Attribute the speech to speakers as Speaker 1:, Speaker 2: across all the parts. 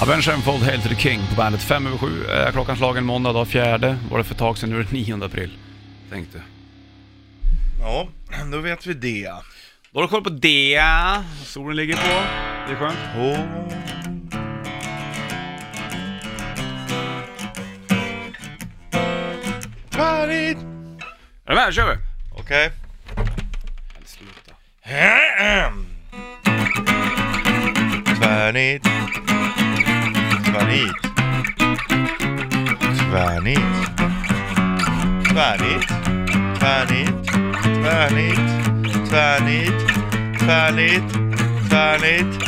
Speaker 1: Avenged Sevenfold, Hail to the King på bandet. Fem över sju är klockan slagen måndag dag fjärde. Var det för ett tag sedan, nu är det 9 april. Tänkte.
Speaker 2: Ja, då vet vi det.
Speaker 1: Då har du koll på det. Solen ligger på. Det är skönt.
Speaker 2: Åh. Party!
Speaker 1: Är du med? Då kör vi!
Speaker 2: Okej.
Speaker 1: Sluta.
Speaker 2: Tvärnit. Tvärnit. Tvärnit. Tvärnit. Tvärnit. Tvärnit. Tvärnit. Tvärnit. Tvärnit. Tvärnit. Tvärnit.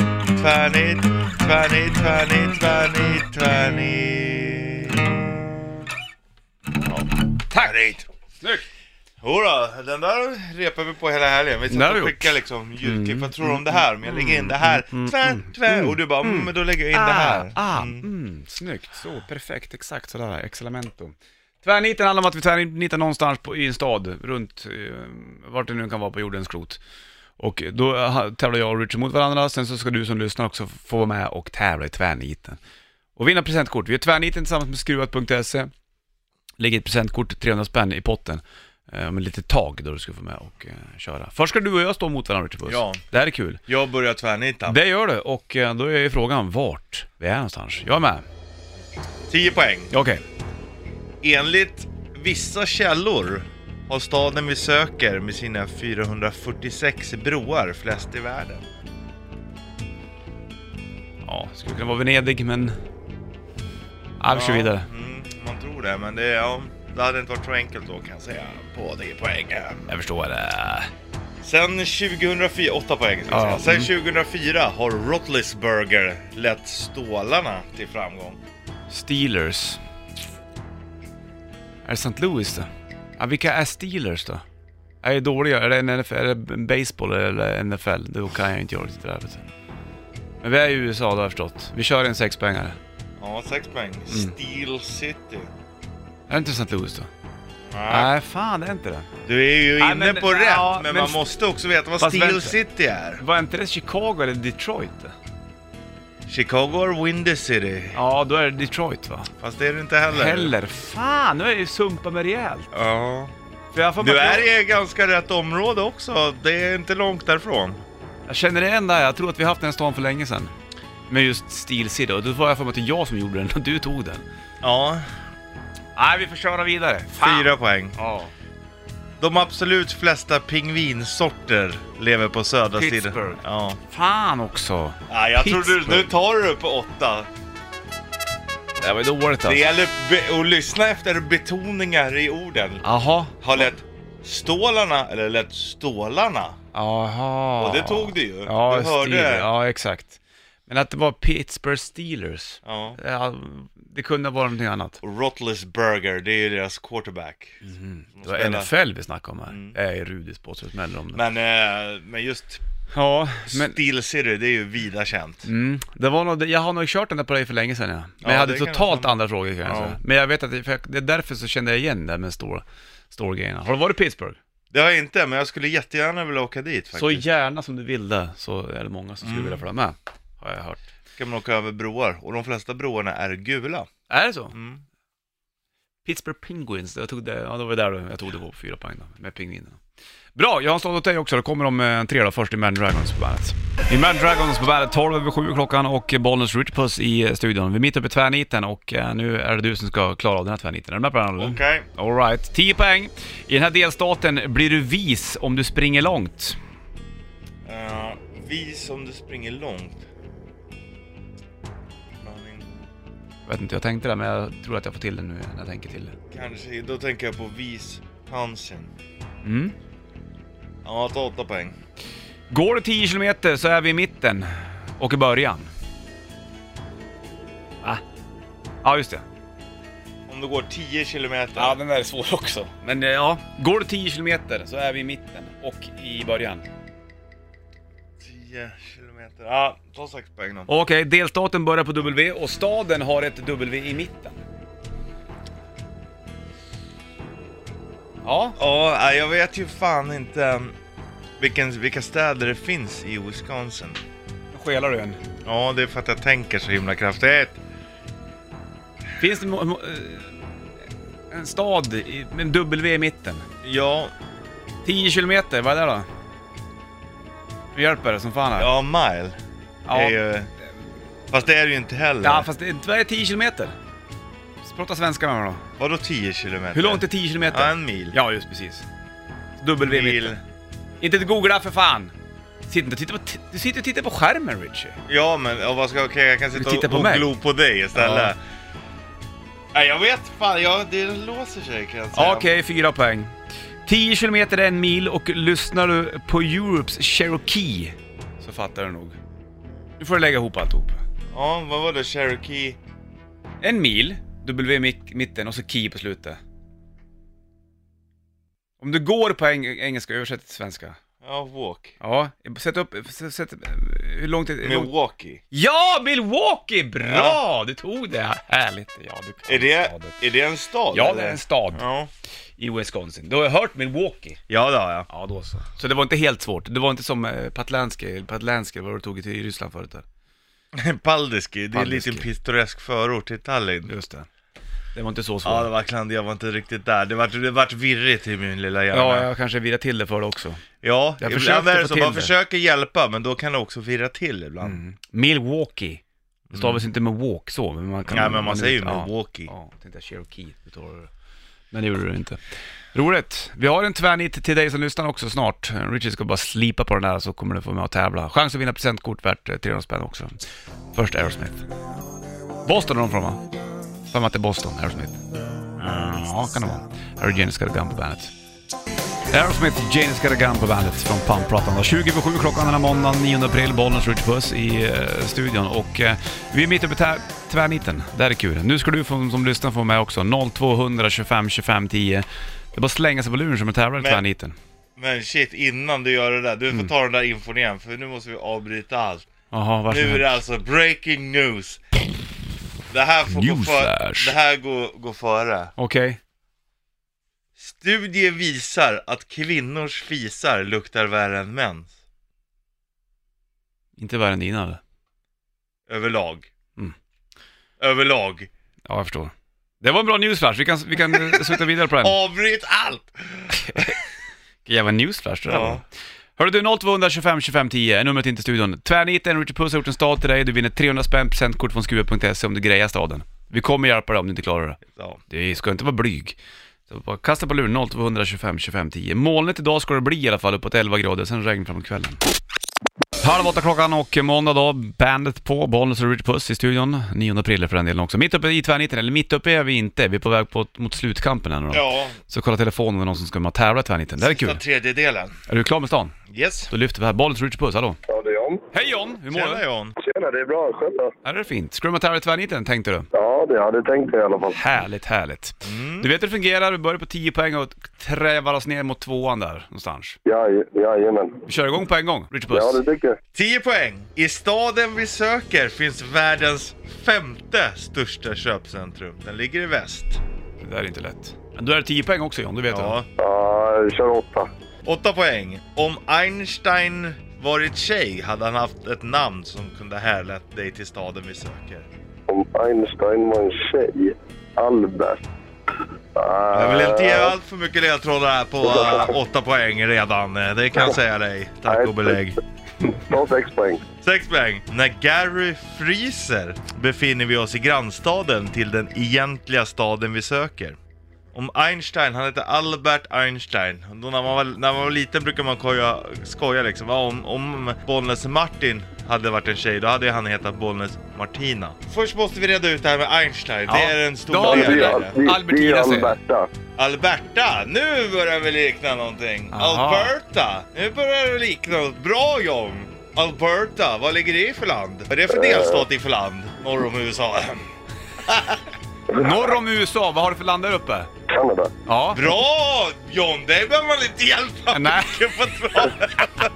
Speaker 2: Tvärnit. Tvärnit. Tvärnit. Ja. Tvärnit.
Speaker 1: Snyggt!
Speaker 2: Jodå, den där repar vi på hela helgen. Vi
Speaker 1: Det har
Speaker 2: satt
Speaker 1: vi
Speaker 2: och
Speaker 1: gjort. Mm.
Speaker 2: skickade liksom ljudklipp. Vad tror du om det här? Men jag lägger in det här. Tvär, tvär. Och du bara, mm, men då lägger jag in det här.
Speaker 1: Ah, mm, snyggt, så perfekt, exakt sådär, excellento. Tvärniten handlar om att vi tvärnitar någonstans på, i en stad, runt, eh, vart det nu kan vara på jordens klot. Och då eh, tävlar jag och Richard mot varandra, sen så ska du som lyssnar också få vara med och tävla i tvärniten. Och vinna presentkort. Vi gör tvärniten tillsammans med skruvat.se. Lägger ett presentkort, 300 spänn i potten. Eh, Om ett litet tag då du ska få med och eh, köra. Först ska du och jag stå mot varandra Richard Puss.
Speaker 2: Ja.
Speaker 1: Det här är kul.
Speaker 2: Jag börjar tvärnita.
Speaker 1: Det gör du och eh, då är ju frågan vart vi är någonstans. Jag är med.
Speaker 2: 10 poäng.
Speaker 1: Ja, Okej.
Speaker 2: Enligt vissa källor har staden vi söker med sina 446 broar flest i världen.
Speaker 1: Ja, skulle kunna vara Venedig men... Ja, vi kör vidare.
Speaker 2: Mm, man tror det, men det, ja, det hade inte varit så enkelt då kan jag säga. På 10 poäng.
Speaker 1: Jag förstår det.
Speaker 2: Sen 2004, 8 poäng ska
Speaker 1: Ja, Mm.
Speaker 2: jag säga. Sen 2004 har Rottlisberger lett stålarna till framgång.
Speaker 1: Steelers. Är det St. Louis då? Ja, vilka är Steelers då? Jag är dåliga. Är det, en NFL, är det en baseball eller NFL? Då kan jag inte göra det där vet du. Men vi är i USA då har jag förstått. Vi kör en sexpoängare.
Speaker 2: Ja, 6 poäng.
Speaker 1: Mm.
Speaker 2: Steel City.
Speaker 1: Är det inte St. Louis då?
Speaker 2: Nej.
Speaker 1: Nej, fan det är inte det.
Speaker 2: Du är ju
Speaker 1: Nej,
Speaker 2: inne
Speaker 1: men-
Speaker 2: på rätt,
Speaker 1: ja,
Speaker 2: men,
Speaker 1: men-
Speaker 2: man måste också veta vad
Speaker 1: Fast
Speaker 2: Steel
Speaker 1: vänta.
Speaker 2: City är.
Speaker 1: Var inte det Chicago eller Detroit? då?
Speaker 2: Chicago är Windy City.
Speaker 1: Ja, då är det Detroit va?
Speaker 2: Fast det är det inte heller.
Speaker 1: Heller. Fan, nu är jag ju sumpat mig rejält.
Speaker 2: Ja.
Speaker 1: För jag, får
Speaker 2: Du är i ganska rätt område också. Det är inte långt därifrån.
Speaker 1: jag känner igen det här, jag tror att vi har haft den här stan för länge sedan. Med just Steel City, och då var jag för mig att det var jag som gjorde den och du tog den.
Speaker 2: Ja,
Speaker 1: Nej, vi får köra vidare. Fan.
Speaker 2: fyra poäng.
Speaker 1: Ja.
Speaker 2: De absolut flesta pingvinsorter lever på södra
Speaker 1: Pittsburgh.
Speaker 2: sidan. Ja.
Speaker 1: Fan också.
Speaker 2: Ja, jag tror du,
Speaker 1: Pittsburgh.
Speaker 2: nu tar du på åtta.
Speaker 1: Det var ju dåligt
Speaker 2: Det
Speaker 1: alltså.
Speaker 2: gäller be- att lyssna efter betoningar i orden.
Speaker 1: Jaha.
Speaker 2: Har lätt stålarna eller lätt stålarna.
Speaker 1: Jaha.
Speaker 2: Och det tog du ju.
Speaker 1: Ja,
Speaker 2: du hörde.
Speaker 1: Steel.
Speaker 2: det.
Speaker 1: ja, exakt. Men att det var Pittsburgh Steelers.
Speaker 2: Ja.
Speaker 1: Ja, det kunde vara någonting annat.
Speaker 2: Och Roethlisberger, det är ju deras quarterback.
Speaker 1: Mm. Det var NFL vi snackade om här. Det är Rudis påstått smäller om det.
Speaker 2: Mm. Men, eh, men just
Speaker 1: ja, men...
Speaker 2: Steel City, det är ju vida känt.
Speaker 1: Mm. Det var nog, jag har nog kört den där på dig för länge sedan ja. Men
Speaker 2: Ja,
Speaker 1: jag hade
Speaker 2: det kan jag
Speaker 1: totalt
Speaker 2: stämma.
Speaker 1: andra frågor kan jag
Speaker 2: Ja.
Speaker 1: säga. Men jag vet att det, för jag, det är därför så kände jag igen det här med stor, stor grejerna. Har du varit i Pittsburgh?
Speaker 2: Det har jag inte, men jag skulle jättegärna vilja åka dit faktiskt. Mm.
Speaker 1: Så gärna som du vill det, så är det många som skulle vilja följa med. Har jag hört.
Speaker 2: kan man åka över broar, och de flesta broarna är gula.
Speaker 1: Är det så?
Speaker 2: Mm.
Speaker 1: Pittsburgh Penguins, jag tog det, ja, det var där då. jag tog det på fyra poäng då, med pingvinerna. Bra, jag har en stånd åt dig också. Det kommer om eh, tre då, först i Man Dragons på bandet. I Man Dragons på bandet, 12 över 7 klockan och Bollnäs Rich Puss i eh, studion. Vi är mitt uppe i tvärniten och eh, nu är det du som ska klara av den här tvärniten. Är du med på den? eller?
Speaker 2: Okej.
Speaker 1: Alright, 10 poäng. I den här delstaten blir du vis om du springer långt.
Speaker 2: Eh, vi som du springer långt. Men
Speaker 1: Jag vet inte, jag tänkte det men jag tror att jag får till det nu när jag tänker till det.
Speaker 2: kanske, då tänker jag på Vis Hansen.
Speaker 1: Mm.
Speaker 2: Ja, ta åtta poäng.
Speaker 1: Går det 10 kilometer så är vi i mitten och i början. Va? Ja, just det.
Speaker 2: Om du går 10 kilometer.
Speaker 1: den där är svår också. Men eh, ja, går det 10 kilometer så är vi i mitten och i början.
Speaker 2: 10 kilometer. Ja, ta 6 poäng då.
Speaker 1: Okej, delstaten börjar på W och staden har ett W i mitten. Ja,
Speaker 2: Ja, nej, jag vet ju fan inte um, vilken, vilka städer det finns i Wisconsin.
Speaker 1: skelar du en.
Speaker 2: Ja, det är för att jag tänker så himla kraftigt.
Speaker 1: Finns det mo- mo- eh, en stad i- med en W i mitten?
Speaker 2: Ja,
Speaker 1: 10 kilometer, vad är det då? Nu hjälper det som fan här.
Speaker 2: ja mile.
Speaker 1: Ja.
Speaker 2: Är ju... Fast det är det ju inte heller.
Speaker 1: Ja, fast det vad är 10 kilometer? Prata svenska med mig då.
Speaker 2: Vadå 10 kilometer?
Speaker 1: Hur långt är 10 kilometer?
Speaker 2: Ja, en mil.
Speaker 1: Ja, just precis. W i
Speaker 2: mil.
Speaker 1: mitten. Inte ett googla för fan! Sitt inte och titta på, t- du sitter och tittar på skärmen Richie.
Speaker 2: Ja, men ja, vad ska jag... okej, jag kan sitta
Speaker 1: tittar
Speaker 2: och,
Speaker 1: på
Speaker 2: och
Speaker 1: mig.
Speaker 2: glo på dig
Speaker 1: Ja.
Speaker 2: istället. Nej, jag vet fan. Ja, det låser sig kan jag säga.
Speaker 1: Okej, fyra poäng. 10 kilometer är en mil och lyssnar du på Europes Cherokee så fattar du nog. Nu får du lägga ihop alltihop.
Speaker 2: Ja, vad var det? Cherokee?
Speaker 1: En mil, W i mitt- mitten och så Key på slutet. Om du går på eng engelska, översätt till svenska.
Speaker 2: Ja, walk.
Speaker 1: Ja, sätt upp, sätt, sätt, hur långt är det?
Speaker 2: Milwaukee.
Speaker 1: Ja, Milwaukee! Bra! Du tog det, härligt. Ja, du kan
Speaker 2: Är det,
Speaker 1: staden.
Speaker 2: är det en stad?
Speaker 1: Ja,
Speaker 2: eller?
Speaker 1: det är en stad
Speaker 2: Ja.
Speaker 1: i Wisconsin. Du har hört Milwaukee.
Speaker 2: Ja, det har jag.
Speaker 1: Ja, då så. Så det var inte helt svårt. Det var inte som eh, Patlanski, Patlanski, vad du tog till i Ryssland förut där.
Speaker 2: Paldiski, det är en
Speaker 1: Paldiski.
Speaker 2: liten pittoresk förort till Tallinn.
Speaker 1: Just det. Det var inte så svårt.
Speaker 2: Ja, det var klantigt, jag var inte riktigt där. Det vart, det vart virrigt i min lilla hjärna.
Speaker 1: Ja,
Speaker 2: Ja,
Speaker 1: jag kanske virrar till det för det också. jag
Speaker 2: ibland
Speaker 1: försökte
Speaker 2: är det
Speaker 1: få
Speaker 2: så,
Speaker 1: till
Speaker 2: man
Speaker 1: det. Mm.
Speaker 2: försöker hjälpa, men då kan det också virra till ibland.
Speaker 1: Milwaukee. Det stavas inte med walk så, men man kan...
Speaker 2: Mm. Nej, men man säger ju Milwaukee.
Speaker 1: Mm. Ja, ja tänkte jag Cherokee. Du tar det. Men det gjorde du inte. Roligt. Vi har en tvärnit till dig som lyssnar också snart. Richard ska bara slipa på den här så kommer du få med och tävla. Chans att vinna presentkort värt eh, 300 spänn också. Först Aerosmith. Boston är de från va? För mig att det är Boston, Aerosmith. Mm, ja, kan det vara. Här är Janis Got a Gun på bandet. Aerosmith, Janis Got a Gun på bandet från Pampratarna. 20 över 7 klockan den här måndagen, 9 april, Bollnäs Ridge Puss i eh, studion. Och eh, vi är mitt uppe i tä- tvärniten, där är kul. Nu ska du få, som lyssnar få vara med också, 0200 25 25 10. Det är bara att slänga sig på luren som en tävlar i
Speaker 2: Men-
Speaker 1: tvärniten.
Speaker 2: Men shit, innan du gör det där, du
Speaker 1: Mm.
Speaker 2: får ta den där infon igen, för nu måste vi avbryta allt.
Speaker 1: Jaha,
Speaker 2: Nu är
Speaker 1: varsågod.
Speaker 2: det alltså breaking news. Det här får gå före.
Speaker 1: Newsflash.
Speaker 2: Det här går, går före.
Speaker 1: Okej.
Speaker 2: Studie visar att kvinnors fisar luktar värre än mäns.
Speaker 1: Inte värre än dina eller?
Speaker 2: Överlag.
Speaker 1: Mm.
Speaker 2: Överlag.
Speaker 1: Ja, jag förstår. Det var en bra newsflash, vi kan, vi kan eh, sluta vidare på den.
Speaker 2: Avbryt allt!
Speaker 1: Vilken jävla newsflash det där
Speaker 2: Ja.
Speaker 1: var. Hörru du, 0225 25 10 är numret in till studion. Tvärniten, Richard Puss har gjort en stad till dig. Du vinner 300 spänn presentkort från skruva.se om du grejar staden. Vi kommer hjälpa dig om du inte klarar det.
Speaker 2: Ja.
Speaker 1: Du ska inte vara blyg. Så bara kasta på luren 0225 25 10. Molnigt idag ska det bli i alla fall, uppåt 11 grader, sen regn framåt kvällen. Halv åtta klockan och måndag dag, bandet på, Bollnäs och Richard Puss i studion. 9 april för den delen också. Mitt uppe i tvärniten, eller mitt uppe är vi inte, vi är på väg på, mot slutkampen här nu då.
Speaker 2: ja.
Speaker 1: Så kolla telefonen om det är någon som ska med och tävla i tvärniten, det här är kul.
Speaker 2: Sista tredjedelen.
Speaker 1: Är du klar med stan?
Speaker 2: Yes.
Speaker 1: Då lyfter vi här. Bollens Richard Puss, hallå.
Speaker 3: Ja, det är John.
Speaker 1: Hej John! Hur mår
Speaker 2: Tjena
Speaker 1: du?
Speaker 2: John.
Speaker 3: Tjena, det är bra. Skönt då.
Speaker 1: Här är det fint. Ska du med tävla i tvärniten, tänkte du?
Speaker 3: Ja, det hade jag tänkt mig i alla fall.
Speaker 1: Härligt, härligt.
Speaker 2: Mm.
Speaker 1: Du vet hur det fungerar, vi börjar på 10 poäng och trävar oss ner mot tvåan där någonstans.
Speaker 3: Ja, jajamän.
Speaker 1: Vi kör igång på en gång, Richard Puss.
Speaker 3: Ja, det tycker jag.
Speaker 2: 10 poäng. I staden vi söker finns världens femte största köpcentrum. Den ligger i väst.
Speaker 1: det... där är inte lätt. Men då är det 10 poäng också John, du vet
Speaker 2: Ja.
Speaker 1: det.
Speaker 3: Ja, kör åtta.
Speaker 2: 8 poäng. Om Einstein varit tjej hade han haft ett namn som kunde härlett dig till staden vi söker.
Speaker 3: Om Einstein var en tjej. Albert. Ah,
Speaker 2: Jag vill inte ge allt för mycket ledtrådar här på eh, åtta poäng redan. eh, Det kan jag säga dig. Tack och belägg.
Speaker 3: Ta sex poäng.
Speaker 2: Sex poäng. När Gary fryser befinner vi oss i grannstaden till den egentliga staden vi söker. Om Einstein, han heter Albert Einstein. Då när, man var, när man var liten brukade man koja, skoja liksom. Ja, Om, om Bollnäs Martin hade varit en tjej, då hade han hetat Bollnäs Martina. Först måste vi reda ut det här med Einstein.
Speaker 1: Ja.
Speaker 2: Det är en
Speaker 1: Då
Speaker 2: stor
Speaker 1: har
Speaker 3: Det
Speaker 1: vi
Speaker 2: del. i
Speaker 3: är,
Speaker 1: det.
Speaker 2: det.
Speaker 3: Al- det, det är
Speaker 1: Albertina säger jag.
Speaker 3: Alberta.
Speaker 2: Alberta, nu börjar vi likna någonting.
Speaker 1: Aha.
Speaker 2: Alberta, nu börjar vi likna något. Bra John! Alberta, vad ligger det i för land? Vad är det för delstat i för land? Norr om USA.
Speaker 1: Norr om USA, vad har du för land där uppe?
Speaker 3: Kanada.
Speaker 1: Ja,
Speaker 2: Bra John, det behöver man inte hjälpa
Speaker 1: Nej.
Speaker 2: mycket på att dra.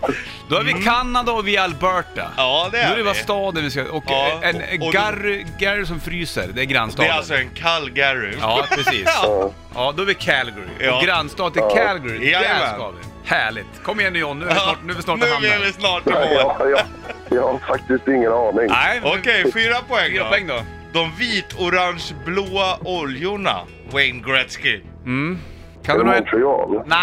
Speaker 1: då är vi i Kanada och vi är Alberta.
Speaker 2: Mm. Ja, det
Speaker 1: Nu
Speaker 2: är
Speaker 1: är det bara
Speaker 2: vi.
Speaker 1: staden vi ska... Och
Speaker 2: Ja,
Speaker 1: en
Speaker 2: och- och-
Speaker 1: Gary, Gary som fryser, det är
Speaker 2: Det
Speaker 1: grannstaden.
Speaker 2: är alltså en kall Gary.
Speaker 1: Ja, precis.
Speaker 3: Ja.
Speaker 1: Ja, då är vi Calgary.
Speaker 2: Ja.
Speaker 1: Och grannstad till Calgary, där
Speaker 2: Jajamän.
Speaker 1: ska vi. Härligt! Kom igen nu John, nu är vi snart, nu är vi snart
Speaker 2: nu
Speaker 1: i
Speaker 2: är
Speaker 1: hamn
Speaker 2: vi-
Speaker 1: här.
Speaker 2: är vi snart i
Speaker 3: Nej,
Speaker 2: mål.
Speaker 3: jag, jag, jag har faktiskt ingen aning.
Speaker 1: Nej, men-
Speaker 2: Okej, fyra poäng
Speaker 1: Fyra
Speaker 2: då.
Speaker 1: poäng då.
Speaker 2: De vit-orange-blåa oljorna, Wayne Gretzky.
Speaker 1: Mm. Kan
Speaker 3: är
Speaker 1: du
Speaker 3: det
Speaker 1: några...
Speaker 3: Montreal?
Speaker 1: Nej,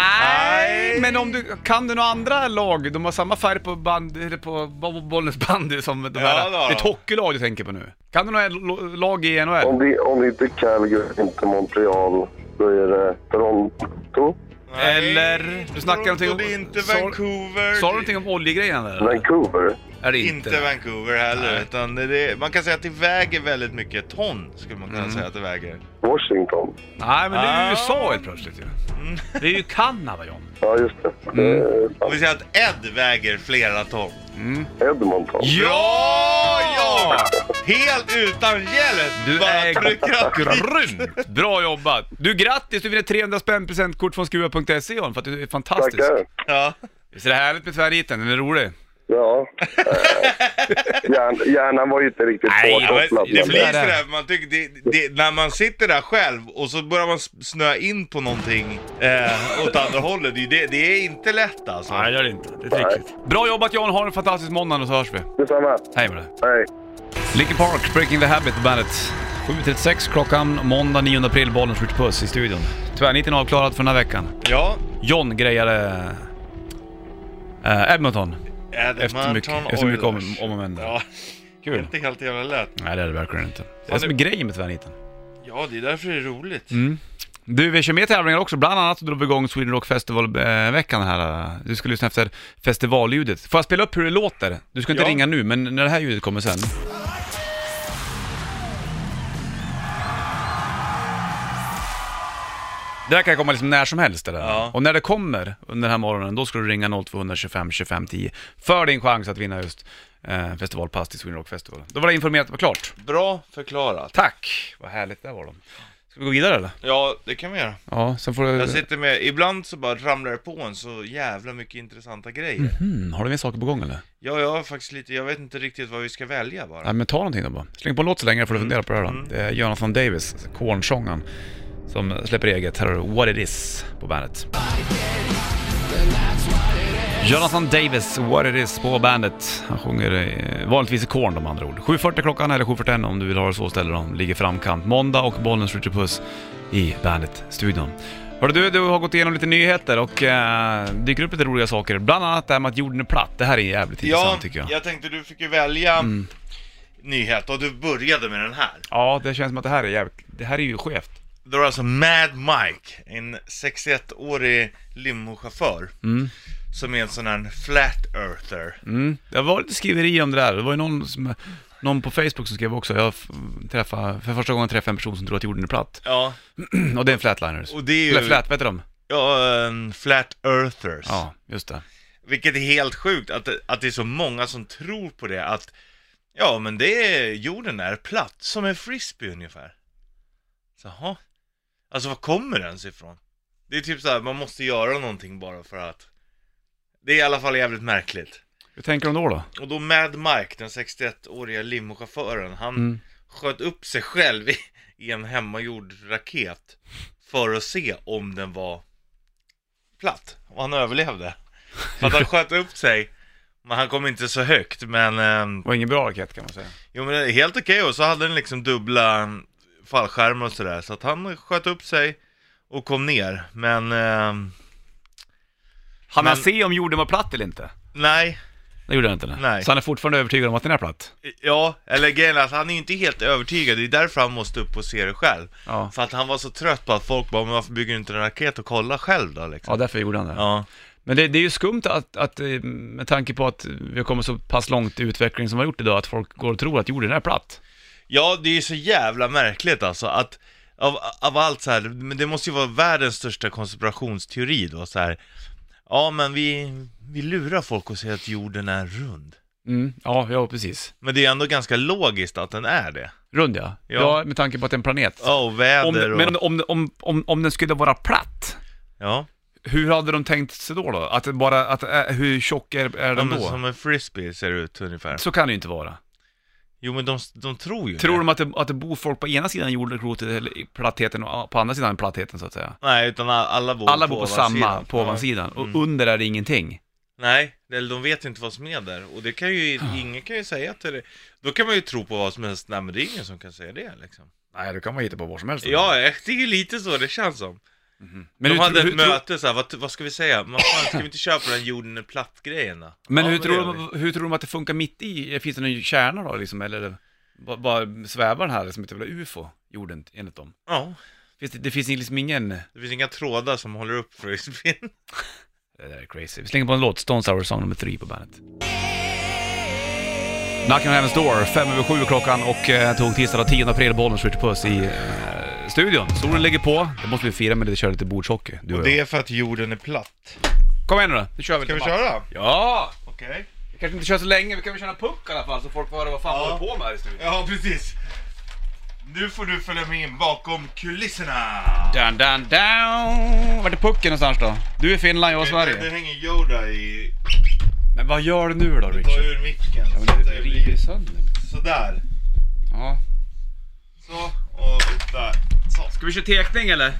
Speaker 2: Nej.
Speaker 1: men om du, kan du några andra lag? De har samma färg på, band, eller på bo- bollens bandy som de
Speaker 2: Ja,
Speaker 1: här.
Speaker 2: då.
Speaker 1: Det är ett hockeylag du tänker på nu. Kan du några lo- lag i
Speaker 3: Om
Speaker 1: NHL?
Speaker 3: det, om det inte är Calgary, inte Montreal, då är det Toronto.
Speaker 1: Eller- du snackar någonting om-
Speaker 2: om... Det är inte
Speaker 1: Sa-
Speaker 2: Vancouver.
Speaker 1: Sa du någonting om oljegrejen eller?
Speaker 3: Vancouver.
Speaker 1: Är det
Speaker 2: Inte,
Speaker 1: inte?
Speaker 2: Vancouver heller,
Speaker 1: Nej.
Speaker 2: utan det är, man kan säga att det väger väldigt mycket ton, skulle man kunna
Speaker 1: Mm.
Speaker 2: säga att det väger.
Speaker 3: Washington.
Speaker 1: Nej, men det är ju
Speaker 2: Ah.
Speaker 1: USA helt plötsligt ju.
Speaker 2: Mm.
Speaker 1: Det är ju Kanada John.
Speaker 3: Ja, just det. det är
Speaker 2: Om vi säger att Ed väger flera ton.
Speaker 3: Edmonton.
Speaker 2: Ja! ja! Helt utan hjälp!
Speaker 1: Du
Speaker 2: Bara
Speaker 1: är
Speaker 2: trycker upp dit.
Speaker 1: grymt! Bra jobbat! Du grattis, du vinner 300 spänn presentkort från skruva.se John, för att du är fantastisk.
Speaker 3: Tackar.
Speaker 2: Ja.
Speaker 1: Visst är det härligt med tvärniten? Den är rolig.
Speaker 3: Ja. Eh, hjärn, hjärnan var ju inte riktigt
Speaker 1: Nej,
Speaker 2: Ja, men
Speaker 3: påkopplad.
Speaker 2: det
Speaker 1: blir-
Speaker 3: men-
Speaker 2: blir sådär, man tycker det, det, när man sitter där själv och så börjar man s- snöa in på någonting eh, åt andra hållet. Det, det, det är inte lätt alltså.
Speaker 1: Nej, det är det inte. Det är trickigt. Bra jobbat John, ha en fantastisk måndag och så hörs vi.
Speaker 3: Detsamma.
Speaker 1: Hej med dig.
Speaker 3: Hej.
Speaker 1: Linkin Park, Breaking the Habit på bandet. 7.36 klockan, måndag 9 april, bollen skjuter puss i studion. Tvärniten avklarad för den här veckan.
Speaker 2: Ja,
Speaker 1: John grejade eh, Edmonton. Efter mycket-
Speaker 2: Edmonton
Speaker 1: efter mycket om-
Speaker 2: Oilers.
Speaker 1: om och men.
Speaker 2: Ja,
Speaker 1: Kul.
Speaker 2: inte helt jävla lätt.
Speaker 1: Nej, det är det verkligen inte. Det är
Speaker 2: Ja,
Speaker 1: det som är grejen med tvärniten.
Speaker 2: Ja, det är därför det är roligt.
Speaker 1: Mm. Du, vi kör mer tävlingar också. Bland annat så drog vi igång Sweden Rock Festival-veckan här. Du ska lyssna efter festivalljudet. Får jag spela upp hur det låter? Du ska inte
Speaker 2: Ja.
Speaker 1: ringa nu, men när det här ljudet kommer sen. Det där kan komma liksom när som helst. Det där.
Speaker 2: Ja.
Speaker 1: Och när det kommer under den här morgonen, då ska du ringa 0225 25 10 för din chans att vinna just eh, festivalpass till Sweden Rock Festival. Då var det informerat och klart.
Speaker 2: Bra förklarat.
Speaker 1: Tack! Vad härligt det var då. Ska vi gå vidare eller?
Speaker 2: Ja, det kan vi göra.
Speaker 1: Ja, sen får du...
Speaker 2: Jag sitter med, ibland så bara ramlar det på en så jävla mycket intressanta grejer.
Speaker 1: Mm, har du mer saker på gång eller?
Speaker 2: Ja, jag har faktiskt lite, jag vet inte riktigt vad vi ska välja bara.
Speaker 1: Nej men ta någonting då bara. Släng på en låt så länge får du fundera på det här då. Det är Jonathan Davis, Kornsångaren, som släpper eget. Här har du What It Is på bandet. Jonathan Davis, What It Is på bandet. Han sjunger eh, vanligtvis i Korn om andra ord. 7.40 klockan eller 7.41 om du vill ha det så ställer de. Ligger framkant. Måndag och Bollnäs skjuter puss i bandet-studion. Hörru du, du har gått igenom lite nyheter och eh, dyker upp lite roliga saker. Bland annat det här med att jorden är platt. Det här är jävligt
Speaker 2: Ja,
Speaker 1: intressant tycker jag. Mm.
Speaker 2: jag tänkte du fick ju välja nyhet och du började med den här.
Speaker 1: Ja, det känns som att det här är jävligt... Det här är ju skevt.
Speaker 2: Det var alltså Mad Mike, en 61-årig limochaufför. Som är en sån här flat-earther.
Speaker 1: Mm. Det var lite skriveri om det där. Det var ju någon, som, någon på Facebook som skrev också. Jag f- träffade, för första gången träffade jag en person som tror att jorden är platt.
Speaker 2: Ja,
Speaker 1: Och det är en flatliners.
Speaker 2: och det är ju...
Speaker 1: Eller flat, vet du dem?
Speaker 2: Ja, ehm, flat-earthers.
Speaker 1: Ja, just det.
Speaker 2: Vilket är helt sjukt att, det- att det är så många som tror på det att Ja men det är, jorden är platt, som en frisbee ungefär. Jaha. Alltså var kommer den sig ifrån? Det är typ så här, man måste göra någonting bara för att Det är i alla fall jävligt märkligt.
Speaker 1: Hur tänker de då då?
Speaker 2: Och då Mad Mike, den 61-åriga limochauffören, han sköt upp sig själv i, i en hemmagjord raket för att se om den var platt. Och han överlevde. För att han sköt upp sig, men han kom inte så högt. Men, ehm,
Speaker 1: Det var ingen bra raket kan man säga.
Speaker 2: jo men det är helt okej. Och så hade den liksom dubbla mm, fallskärmar och sådär. Så att han sköt upp sig och kom ner. Men, ehm,
Speaker 1: Han
Speaker 2: Men-
Speaker 1: Men... se om jorden var platt eller inte?
Speaker 2: nej.
Speaker 1: Det gjorde han inte. nej.
Speaker 2: Nej.
Speaker 1: Så han är fortfarande övertygad om att den är platt?
Speaker 2: Ja, eller grejen är att han är ju inte helt övertygad, det är därför han måste upp och se det själv.
Speaker 1: Ja.
Speaker 2: För att han var så trött på att folk bara, men varför bygger du inte en raket och kollar själv då liksom?
Speaker 1: Ja, därför gjorde han det.
Speaker 2: Ja.
Speaker 1: Men det, det är ju skumt att, att, eh, med tanke på att vi har kommit så pass långt i utvecklingen som vi har gjort idag, att folk går och tror att jorden är platt.
Speaker 2: ja, det är ju så jävla märkligt alltså att av, av allt så här, men det måste ju vara världens största konspirationsteori då så här. Ja, men vi, vi lurar folk och säger att jorden är rund.
Speaker 1: Mm. Ja, ja precis.
Speaker 2: Men det är ju ändå ganska logiskt att den är det.
Speaker 1: Rund ja.
Speaker 2: Ja.
Speaker 1: ja. med tanke på att det är en planet.
Speaker 2: Ja, och väder
Speaker 1: Om,
Speaker 2: och...
Speaker 1: men om, om, om, om, om den skulle vara platt,
Speaker 2: Ja,
Speaker 1: hur hade de tänkt sig då? då? Att det bara, att, äh, hur tjock är, är
Speaker 2: ja
Speaker 1: den
Speaker 2: men
Speaker 1: då?
Speaker 2: som en frisbee ser det ut ungefär.
Speaker 1: Så kan det ju inte vara.
Speaker 2: Jo men de, de tror ju
Speaker 1: Tror
Speaker 2: det.
Speaker 1: de att det, att det bor folk på ena sidan jordklotet, eller i plattheten, och äh, på andra sidan plattheten så att säga?
Speaker 2: Nej, utan alla, alla bor
Speaker 1: Alla bor på Mm. samma,
Speaker 2: ovansidan.
Speaker 1: på ovansidan, och under är det ingenting.
Speaker 2: Nej, eller de vet inte vad som är där. Och det kan ju, ingen kan ju säga att det är... Då kan man ju tro på vad som helst. Nej men det är ingen som kan säga det liksom.
Speaker 1: Nej, det kan man hitta på var som helst.
Speaker 2: Ja, eh, det är ju lite så det känns som.
Speaker 1: men
Speaker 2: de
Speaker 1: hur,
Speaker 2: hade
Speaker 1: hur,
Speaker 2: ett
Speaker 1: hur,
Speaker 2: möte såhär, vad, vad ska vi säga? Man, fan, ska vi inte köra på den jorden är platt-grejen då?
Speaker 1: men
Speaker 2: Ja,
Speaker 1: hur, tror
Speaker 2: det gör vi.
Speaker 1: de, hur tror de att det funkar mitt i? Finns det någon kärna då liksom, eller bara, bara svävar den här som ett jävla ufo, jorden, enligt dem?
Speaker 2: Ja,
Speaker 1: Finns det, det finns liksom ingen...
Speaker 2: det finns inga trådar som håller upp för spinn.
Speaker 1: Det där är crazy. Vi slänger på en låt, Stones Sour Song nummer 3 på bandet. Knocking on Heaven's Door, fem över sju klockan och eh, tog tisdag den 10 april bollen skjuter puss i eh, studion. Solen ligger på, det måste vi fira med att köra lite bordshockey, du och, jag.
Speaker 2: är för att jorden är platt.
Speaker 1: Kom igen nu då, nu kör vi
Speaker 2: Ska vi
Speaker 1: lite
Speaker 2: köra?
Speaker 1: Ja!
Speaker 2: Okej.
Speaker 1: Vi kanske inte kör så länge, vi kan väl köra puck i alla fall så folk får höra vad fan vi håller på med här i studion.
Speaker 2: Ja, precis. Nu får du följa med in bakom kulisserna.
Speaker 1: Down, down, down. Vart är pucken någonstans då? Du är Finland, jag är
Speaker 2: Nu
Speaker 1: Sverige.
Speaker 2: hänger Yoda i...
Speaker 1: Men vad gör du nu då
Speaker 2: Ta
Speaker 1: Richard?
Speaker 2: ur micken.
Speaker 1: Ja,
Speaker 2: så
Speaker 1: men
Speaker 2: att
Speaker 1: du
Speaker 2: det
Speaker 1: river ju
Speaker 2: blir
Speaker 1: sönder.
Speaker 2: sådär.
Speaker 1: Ja.
Speaker 2: Så, och upp där. Så.
Speaker 1: Ska vi köra tekning eller?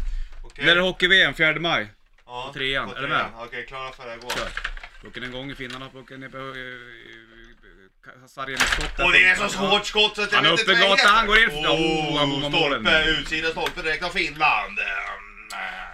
Speaker 2: Okej.
Speaker 1: När är det hockey-VM? 4 maj.
Speaker 2: Ja,
Speaker 1: på trean?
Speaker 2: på
Speaker 1: Är du med?
Speaker 2: trean. Okej, klara för det här går.
Speaker 1: Kör. Pucken en gång i finnarna, pucken ner på... eh, eh, Sargen i skott.
Speaker 2: Och det är så hårt skott så att jag
Speaker 1: Han är
Speaker 2: vet inte
Speaker 1: uppe i
Speaker 2: vad det
Speaker 1: gatan,
Speaker 2: heter.
Speaker 1: han går in. Oh, han
Speaker 2: Oh,
Speaker 1: bommar
Speaker 2: stolpe,
Speaker 1: målen.
Speaker 2: utsida stolpe direkt av Finland. Ehm,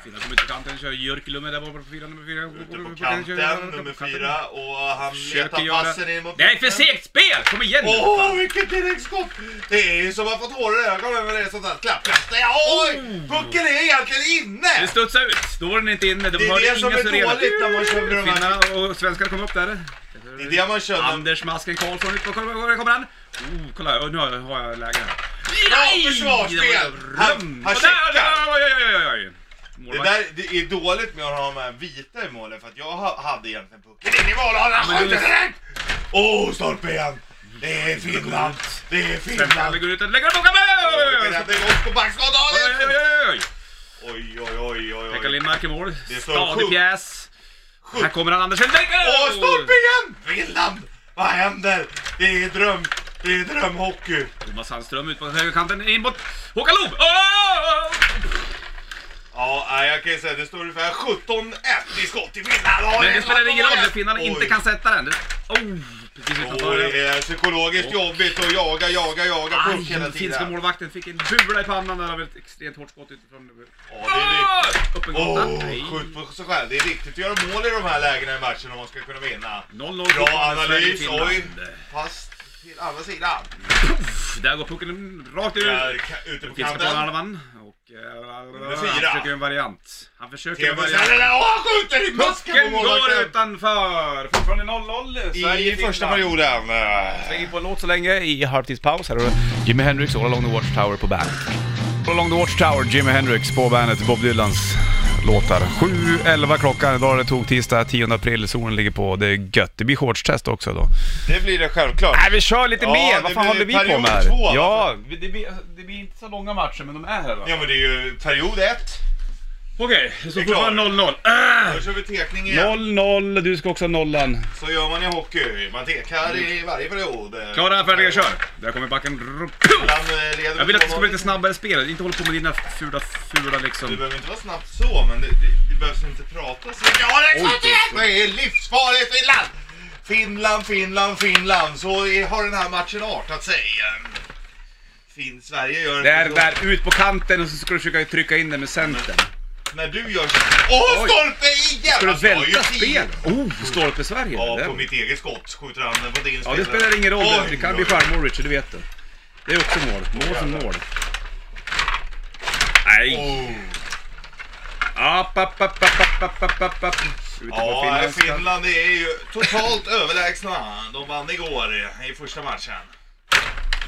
Speaker 1: Finnar kommer ut till kanten, kör Jörkilummen där borta på fyra, nummer fyra.
Speaker 2: Ute på
Speaker 1: Pucken
Speaker 2: kanten,
Speaker 1: kör-
Speaker 2: nummer
Speaker 1: kanten.
Speaker 2: fyra. Och han
Speaker 1: Försöker
Speaker 2: letar
Speaker 1: göra-
Speaker 2: passen in mot
Speaker 1: Det är för
Speaker 2: mitten.
Speaker 1: segt spel! Kom igen nu!
Speaker 2: Åh,
Speaker 1: fan.
Speaker 2: vilket direktskott! Det är ju som att få tårar i ögonen när det är sånt där klapp, klapp. Nej, Oj! Pucken är egentligen
Speaker 1: Oh. Det
Speaker 2: inne!
Speaker 1: studsade ut, då var den inte inne. De
Speaker 2: Det är
Speaker 1: hörde
Speaker 2: det som
Speaker 1: inga
Speaker 2: är
Speaker 1: sirener.
Speaker 2: dåligt när man kör med de här-
Speaker 1: Finnarna och svenskarna kom upp där.
Speaker 2: Det är det man känner.
Speaker 1: Anders Masken Karlsson ut på, kolla, kolla, kommer han? Oh, kolla, och nu har jag, har jag läge här.
Speaker 2: Bra försvarsspel! Han-
Speaker 1: Han,
Speaker 2: han
Speaker 1: han checkar!
Speaker 2: checkar.
Speaker 1: Oj, oj, oj, oj, oj.
Speaker 2: Det,
Speaker 1: Målvakt.
Speaker 2: där, det är dåligt med att ha de här vita i målen för att jag ha- hade egentligen pucken in i målhålan,
Speaker 1: men
Speaker 2: skjuter
Speaker 1: du-
Speaker 2: direkt! Åh, stolpe igen!
Speaker 1: Mm.
Speaker 2: Det är Finland! Det är Finland!
Speaker 1: Svenskar går ut och lägger den bakom
Speaker 2: Åh,
Speaker 1: mål!
Speaker 2: Det är gott på backskott,
Speaker 1: Oj, oj,
Speaker 2: Daniel!
Speaker 1: oj, oj.
Speaker 2: Oj, oj, oj, oj,
Speaker 1: Pekka
Speaker 2: oj.
Speaker 1: Lindmark i mål.
Speaker 2: Det är så
Speaker 1: Stadig
Speaker 2: sjukt.
Speaker 1: pjäs. Här kommer han, Anders Lindmark!
Speaker 2: Åh, stolpe igen! Finland! Vad händer? Det är dröm... Det är drömhockey!
Speaker 1: Thomas Sandström ut på högerkanten, in mot Håkan Loob! Åh!
Speaker 2: Ja, nej, jag kan ju säga att det står ungefär 17-1 i skott i Finland. Åh,
Speaker 1: Men
Speaker 2: är
Speaker 1: det spelar ingen roll,
Speaker 2: mål.
Speaker 1: när finnarna inte
Speaker 2: Oj.
Speaker 1: kan sätta den. Det- Oh, precis
Speaker 2: Åh,
Speaker 1: utanför.
Speaker 2: det är psykologiskt jobbigt att jaga, jaga, jaga puck
Speaker 1: Aj,
Speaker 2: hela
Speaker 1: den finska
Speaker 2: tiden.
Speaker 1: målvakten fick en bula i pannan där av ett extremt hårt skott utifrån.
Speaker 2: Ja, det är riktigt.
Speaker 1: Öppengatan.
Speaker 2: Åh,
Speaker 1: Nej.
Speaker 2: skjut på sig själv. Det är viktigt att göra mål i de här lägena i matchen om man ska kunna vinna.
Speaker 1: 0-0
Speaker 2: Bra
Speaker 1: fortfarande, Sverige,
Speaker 2: analys,
Speaker 1: Finland.
Speaker 2: oj. Pass till andra sidan.
Speaker 1: Där går pucken rakt ut.
Speaker 2: Där, ka- ute på
Speaker 1: Fiskar på en
Speaker 2: kanten.
Speaker 1: halvan. Och... eh, Han
Speaker 2: fyra.
Speaker 1: försöker en variant. Han försöker en
Speaker 2: Tebo
Speaker 1: variant.
Speaker 2: Särrela, åh, han skjuter i masken på
Speaker 1: Pucken går
Speaker 2: målvakten!
Speaker 1: utanför! Fortfarande 0-0.
Speaker 2: I första perioden.
Speaker 1: Slänger på en låt så länge i halvtidspaus. Här har du Jimi Hendrix All Along the Watchtower på bandet. All Along the Watchtower, Jimi Hendrix på bandet, Bob Dylans låtar. 7.11 klockan, idag är det tog tisdag 10 april, solen ligger på, det är gött. Det blir shortstest också då.
Speaker 2: Det blir det självklart.
Speaker 1: Nej vi kör lite
Speaker 2: Ja,
Speaker 1: mer,
Speaker 2: det
Speaker 1: vad fan
Speaker 2: blir
Speaker 1: håller vi på
Speaker 2: period
Speaker 1: med här?
Speaker 2: två, alltså.
Speaker 1: ja, vi- det blir, det blir inte så långa matcher men de är här va?
Speaker 2: Ja men det är ju period ett.
Speaker 1: Okej, så
Speaker 2: är klart.
Speaker 1: fortfarande 0-0.
Speaker 2: Då kör vi tekning igen.
Speaker 1: 0-0, du ska också ha nollan.
Speaker 2: Så gör man i hockey. Man tekar i varje period.
Speaker 1: Klara, färdiga, kör! Där kommer backen.
Speaker 2: Ibland, eh, leder
Speaker 1: Jag vill att det ska bli
Speaker 2: vi
Speaker 1: lite snabbare spel, inte hålla på med dina fula, fula
Speaker 2: Det
Speaker 1: liksom...
Speaker 2: behöver inte vara snabbt så, men det, det, det behövs inte prata så mycket. Ja, det är
Speaker 1: Oj,
Speaker 2: klart det är! Det är livsfarligt Finland! Finland, Finland, Finland. Så är- har den här matchen artat sig. Ehm, Fin, Sverige gör inte
Speaker 1: Där,
Speaker 2: så.
Speaker 1: där, ut på kanten och så ska du försöka trycka in den med centern.
Speaker 2: När du gör så. Åh,
Speaker 1: Oj.
Speaker 2: stolpe igen!
Speaker 1: Ska du
Speaker 2: Han tar Alltså, ju
Speaker 1: välta
Speaker 2: tid.
Speaker 1: spel? Oh, stolpe Sverige.
Speaker 2: Ja,
Speaker 1: där.
Speaker 2: på mitt eget skott skjuter han den på din
Speaker 1: ja, det spelar ingen roll.
Speaker 2: Oj,
Speaker 1: det kan
Speaker 2: oj,
Speaker 1: bli
Speaker 2: oj.
Speaker 1: självmål Richard, du vet det. Det är också mål. Mål som mål. Nej!
Speaker 2: Oh.
Speaker 1: App, app, app, app, app, app, app, app, app. Ute på
Speaker 2: Ja, Finland,
Speaker 1: finländska.
Speaker 2: Finland är ju totalt överlägsna. De vann igår eh, i första matchen.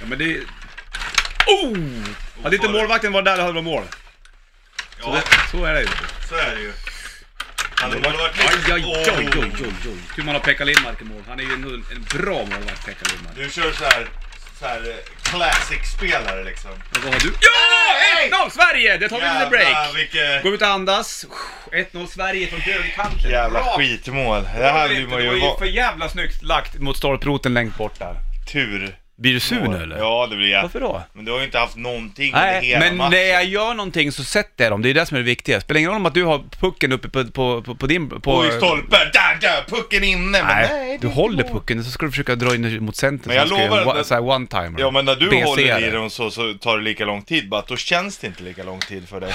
Speaker 1: Ja, men det... Oh! Hade inte målvakten varit där, då hade det varit mål. Så,
Speaker 2: Ja,
Speaker 1: det, så är det ju.
Speaker 2: så är det ju. Hade det varit
Speaker 1: Aj, aj, aj,
Speaker 2: Åh.
Speaker 1: aj, aj, aj. Tur man har Pekka Lindmark i mål. Han är ju en, en bra målvakt, Pekka Lindmark.
Speaker 2: Du kör så här, så här eh, classic-spelare liksom.
Speaker 1: Och vad har du? Ja! 1-0 Sverige! Det tar vi lite break.
Speaker 2: vilket...
Speaker 1: Gå ut och andas. 1-0 Sverige från högerkanten.
Speaker 2: Jävla
Speaker 1: Bra.
Speaker 2: skitmål. Det här vill
Speaker 1: Det var
Speaker 2: man ju
Speaker 1: ju
Speaker 2: vara
Speaker 1: för jävla snyggt lagt mot stolproten längst bort där.
Speaker 2: tur.
Speaker 1: Blir du sur nu eller?
Speaker 2: Ja, det blir jag.
Speaker 1: Varför då?
Speaker 2: Men du har ju inte haft någonting under
Speaker 1: Nej,
Speaker 2: hela
Speaker 1: men
Speaker 2: matchen.
Speaker 1: när jag gör någonting så sätter jag dem. Det är det som är det viktiga. Spelar ingen roll om att du har pucken uppe på, på, på, på din... På,
Speaker 2: Och i stolpen, där, där, pucken inne! Men nej,
Speaker 1: Nej,
Speaker 2: det är
Speaker 1: du
Speaker 2: inte
Speaker 1: håller
Speaker 2: mål.
Speaker 1: pucken så ska du försöka dra in mot centrum.
Speaker 2: Men jag
Speaker 1: så ska
Speaker 2: lovar
Speaker 1: en wa-
Speaker 2: att-
Speaker 1: så här one-timer.
Speaker 2: Ja men när du
Speaker 1: BC
Speaker 2: håller i
Speaker 1: det.
Speaker 2: den så, så tar det lika lång tid bara, att då känns det inte lika lång tid för dig.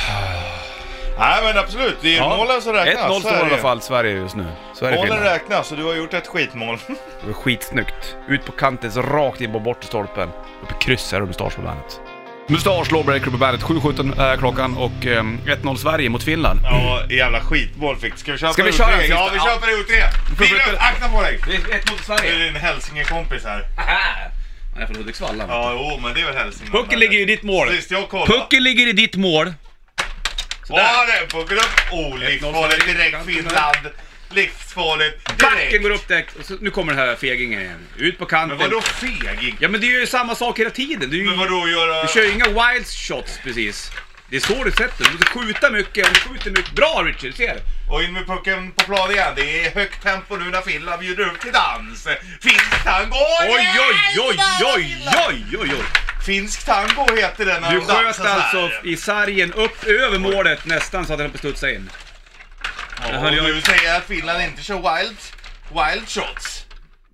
Speaker 2: Nej men absolut, det är
Speaker 1: Ja,
Speaker 2: målen som räknas.
Speaker 1: 1-0
Speaker 2: så
Speaker 1: står i
Speaker 2: är det
Speaker 1: alla
Speaker 2: ju.
Speaker 1: fall Sverige just nu.
Speaker 2: Målen
Speaker 1: Sverige-Finland.
Speaker 2: räknas och du har gjort ett skitmål.
Speaker 1: Det var skitsnyggt. Ut på kanten, så rakt in på bortre stolpen. Uppe i kryss är det Mustasch på bandet. Mustasch, Lawbreaker på bandet. 7.17 är klockan och ehm, 1-0 Sverige mot Finland.
Speaker 2: ja, jävla skitmål fick Ska vi köra
Speaker 1: Ska vi
Speaker 2: period
Speaker 1: köra
Speaker 2: tre?
Speaker 1: en
Speaker 2: Ja,
Speaker 1: sista?
Speaker 2: vi
Speaker 1: Ja.
Speaker 2: kör period tre!
Speaker 1: Förflytta
Speaker 2: Fyra,
Speaker 1: dig.
Speaker 2: akta på dig!
Speaker 1: Det är 1-0
Speaker 2: Det är
Speaker 1: Sverige.
Speaker 2: din hälsingekompis här.
Speaker 1: Han är från Hudiksvall han.
Speaker 2: Ja, jo men det är väl hälsingen.
Speaker 1: Pucken ligger i ditt mål.
Speaker 2: Sist jag kollade.
Speaker 1: Pucken ligger i ditt mål.
Speaker 2: Ja, det är pucken upp. Oh, livsfarligt direkt Finland. Livsfarligt
Speaker 1: Backen
Speaker 2: direkt.
Speaker 1: går upp direkt. Och så, nu kommer den här fegingen igen. Ut på
Speaker 2: Men
Speaker 1: kanten.
Speaker 2: vadå feging?
Speaker 1: Ja men det är ju samma sak hela tiden. Det är ju,
Speaker 2: Men vadå göra...
Speaker 1: Du kör ju inga wild shots precis. Det är så du sätter. Du måste skjuta mycket. Om du skjuter mycket. Bra Richard, ser!
Speaker 2: Och in med pucken på plan igen. Det är högt tempo nu när Finland bjuder upp till dans. Finsk tango!
Speaker 1: Oj, oj, oj, oj,
Speaker 2: Finland!
Speaker 1: oj, oj, oj.
Speaker 2: Finsk tango heter den när
Speaker 1: Du
Speaker 2: de dansar
Speaker 1: sköt
Speaker 2: så här.
Speaker 1: alltså i sargen upp över målet nästan så att den höll på att studsa in.
Speaker 2: Ja,
Speaker 1: höll
Speaker 2: och
Speaker 1: jag-
Speaker 2: du säger att Finland inte kör wild, wild shots.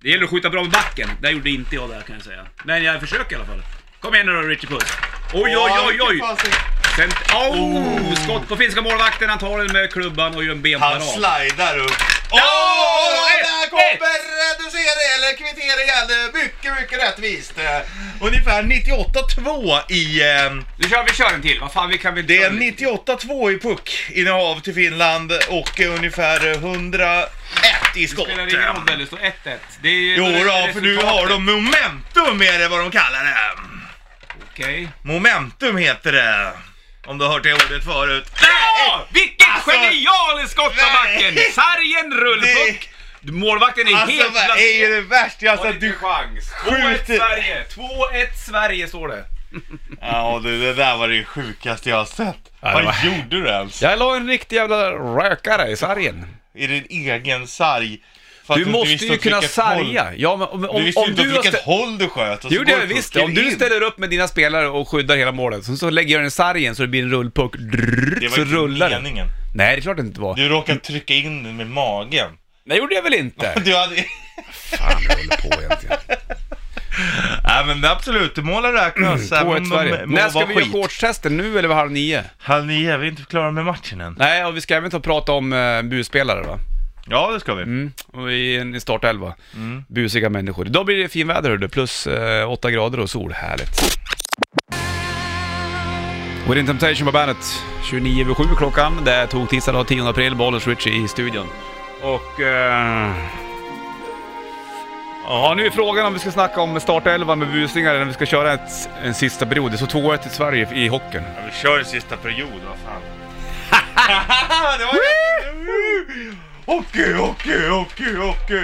Speaker 1: Det gäller att skjuta bra med backen. Det gjorde inte jag där kan jag säga. Men jag försöker i alla fall. Kom igen nu då Richard Puss. Oj, oj, oj, oj.
Speaker 2: Vilken passning.
Speaker 1: Sen, oh, skott på finska målvakten. Han tar den med klubban och gör en
Speaker 2: Han
Speaker 1: benparad.
Speaker 2: slidar upp. Åh,
Speaker 1: ett,
Speaker 2: där kommer
Speaker 1: ett.
Speaker 2: reducering eller kvitteringen. Det är Mycket, mycket rättvist. Eh, Ungefär 98-2 i... ehm,
Speaker 1: Nu kör vi kör en till. Vad fan, vi kan väl
Speaker 2: Det är
Speaker 1: köra lite.
Speaker 2: 98-2 i puckinnehav till Finland och eh, ungefär 101 i skott.
Speaker 1: spelar ingen roll eller står 1-1. Det är ju...
Speaker 2: Jo
Speaker 1: det är
Speaker 2: då, för nu
Speaker 1: resultatet.
Speaker 2: har de momentum är det vad de kallar det.
Speaker 1: Okej.
Speaker 2: Momentum heter det. Om du har hört det ordet förut.
Speaker 1: Åh, vilket
Speaker 2: Alltså-
Speaker 1: genialiskt skott av backen!
Speaker 2: Nej.
Speaker 1: Sargen rullpuck! Målvakten är
Speaker 2: Alltså
Speaker 1: helt
Speaker 2: vad är ju
Speaker 1: placerad.
Speaker 2: det värsta? Alltså
Speaker 1: Har
Speaker 2: att
Speaker 1: inte
Speaker 2: du...
Speaker 1: chans.
Speaker 2: skjuter.
Speaker 1: 2-1 Sverige. 2-1 Sverige står det.
Speaker 2: Ja du, det där var det sjukaste jag har sett.
Speaker 1: det
Speaker 2: Vad
Speaker 1: var-
Speaker 2: gjorde du ens?
Speaker 1: Jag la en riktig jävla rökare i sargen.
Speaker 2: I din egen sarg. För att
Speaker 1: Du
Speaker 2: inte
Speaker 1: måste
Speaker 2: visste
Speaker 1: ju
Speaker 2: åt
Speaker 1: kunna
Speaker 2: vilket håll-
Speaker 1: sarga. Ja, men om,
Speaker 2: Du
Speaker 1: om,
Speaker 2: visste ju
Speaker 1: om
Speaker 2: inte åt
Speaker 1: du har
Speaker 2: vilket
Speaker 1: stä-
Speaker 2: håll du sköt. och så
Speaker 1: Jo det
Speaker 2: går
Speaker 1: gör jag visst.
Speaker 2: pucken
Speaker 1: Om du
Speaker 2: in.
Speaker 1: ställer upp med dina spelare och skyddar hela målet, sen så lägger jag den i sargen så det blir en rullpuck, drrrr,
Speaker 2: Det var
Speaker 1: så
Speaker 2: inte
Speaker 1: rullar den.
Speaker 2: meningen.
Speaker 1: Nej det är klart det inte var.
Speaker 2: Du råkade trycka in den med magen.
Speaker 1: Nej det gjorde jag väl inte?
Speaker 2: Du hade...
Speaker 1: fan jag håller på egentligen.
Speaker 2: Nej men absolut, målen räknas. även om
Speaker 1: 2-1
Speaker 2: de
Speaker 1: Sverige.
Speaker 2: må
Speaker 1: När ska
Speaker 2: vara
Speaker 1: vi göra
Speaker 2: skit.
Speaker 1: shortstesten? Nu eller vid halv nio?
Speaker 2: Halv nio, vi är inte klara med matchen än.
Speaker 1: Nej, och vi ska även ta och prata om uh, busspelare va?
Speaker 2: Ja det ska vi.
Speaker 1: Mm. Och I en i startelva.
Speaker 2: Mm.
Speaker 1: Busiga människor. Idag blir det fin väder hördu, plus eh, åtta grader och sol. Härligt. Within Temptation på bandet. 29.07 klockan. Det är tog tisdag dag 10 april. Bollers Richie i studion. Och... eh, Ja, nu är frågan om vi ska snacka om startelvan med busningar eller om vi ska köra ett, en sista period. Det står 2-1 till Sverige i hockeyn.
Speaker 2: Ja, vi kör en sista period, vad fan. det var Hockey, hockey, hockey, hockey!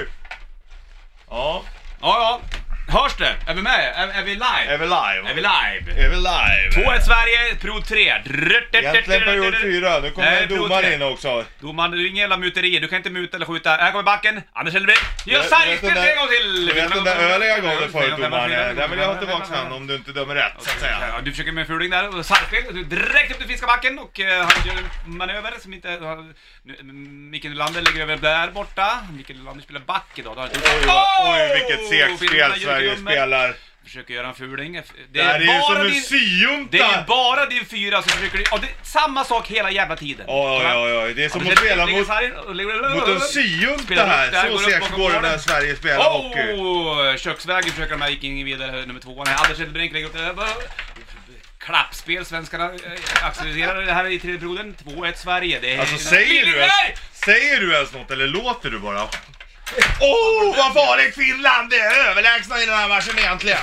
Speaker 2: Ja,
Speaker 1: Ja, ja. Hörs det? Är vi med? Är, är vi live?
Speaker 2: är vi live?
Speaker 1: Är vi live?
Speaker 2: Är vi live?
Speaker 1: 2-1 Sverige, period 3. Drrrt,
Speaker 2: Egentligen period fyra, nu
Speaker 1: Nej,
Speaker 2: kommer
Speaker 1: period
Speaker 2: domaren
Speaker 1: tre.
Speaker 2: in också.
Speaker 1: Domaren, det är inga jävla muterier. Du kan inte muta eller skjuta. Här kommer backen. Anders Hellberg. Gör
Speaker 2: vet
Speaker 1: sargspel
Speaker 2: den där-
Speaker 1: tre gånger till!
Speaker 2: Du vet den där ölen jag gav dig förut domaren, den vill jag ha tillbaka sen om du inte dömer rätt så att säga.
Speaker 1: Ja, du försöker med en fuling där. Och Sargspel. Du direkt upp till fiskabacken och eh, han gör en manöver som inte... han- nu- mm, Micke Nylander lägger över där borta. Micke Nylander spelar back idag. det har han inte
Speaker 2: Oj,
Speaker 1: gjort.
Speaker 2: vad-
Speaker 1: Oh!
Speaker 2: oj vilket segt
Speaker 1: Finland
Speaker 2: spel
Speaker 1: gör
Speaker 2: Sverige
Speaker 1: gummet.
Speaker 2: spelar.
Speaker 1: Försöker göra en fuling. Det
Speaker 2: Det här är ju som
Speaker 1: bara
Speaker 2: en
Speaker 1: din,
Speaker 2: syjunta!
Speaker 1: det är bara din fyra som försöker... Ja, det är samma sak hela jävla tiden.
Speaker 2: Oj, oj, oj, det är som
Speaker 1: Anders
Speaker 2: att spela
Speaker 1: lägger
Speaker 2: mot,
Speaker 1: sargen och lägger-
Speaker 2: mot en syjunta
Speaker 1: Spelar upp där,
Speaker 2: här. Så
Speaker 1: går upp
Speaker 2: segt
Speaker 1: bakom
Speaker 2: går det när
Speaker 1: målen.
Speaker 2: Sverige spelar hockey.
Speaker 1: Oh, köksvägen försöker de här, gick in vidare, eh, nummer två. Nej, Anders Elfbrink lägger upp det. Bara- Klappspel, svenskarna eh, accelererar det här i tredje perioden. 2-1 Sverige. Det är
Speaker 2: Alltså säger du, ens,
Speaker 1: Nej!
Speaker 2: säger du ens något eller låter du bara? Oh, vad farligt Finland! Det är överlägsna i den här matchen egentligen.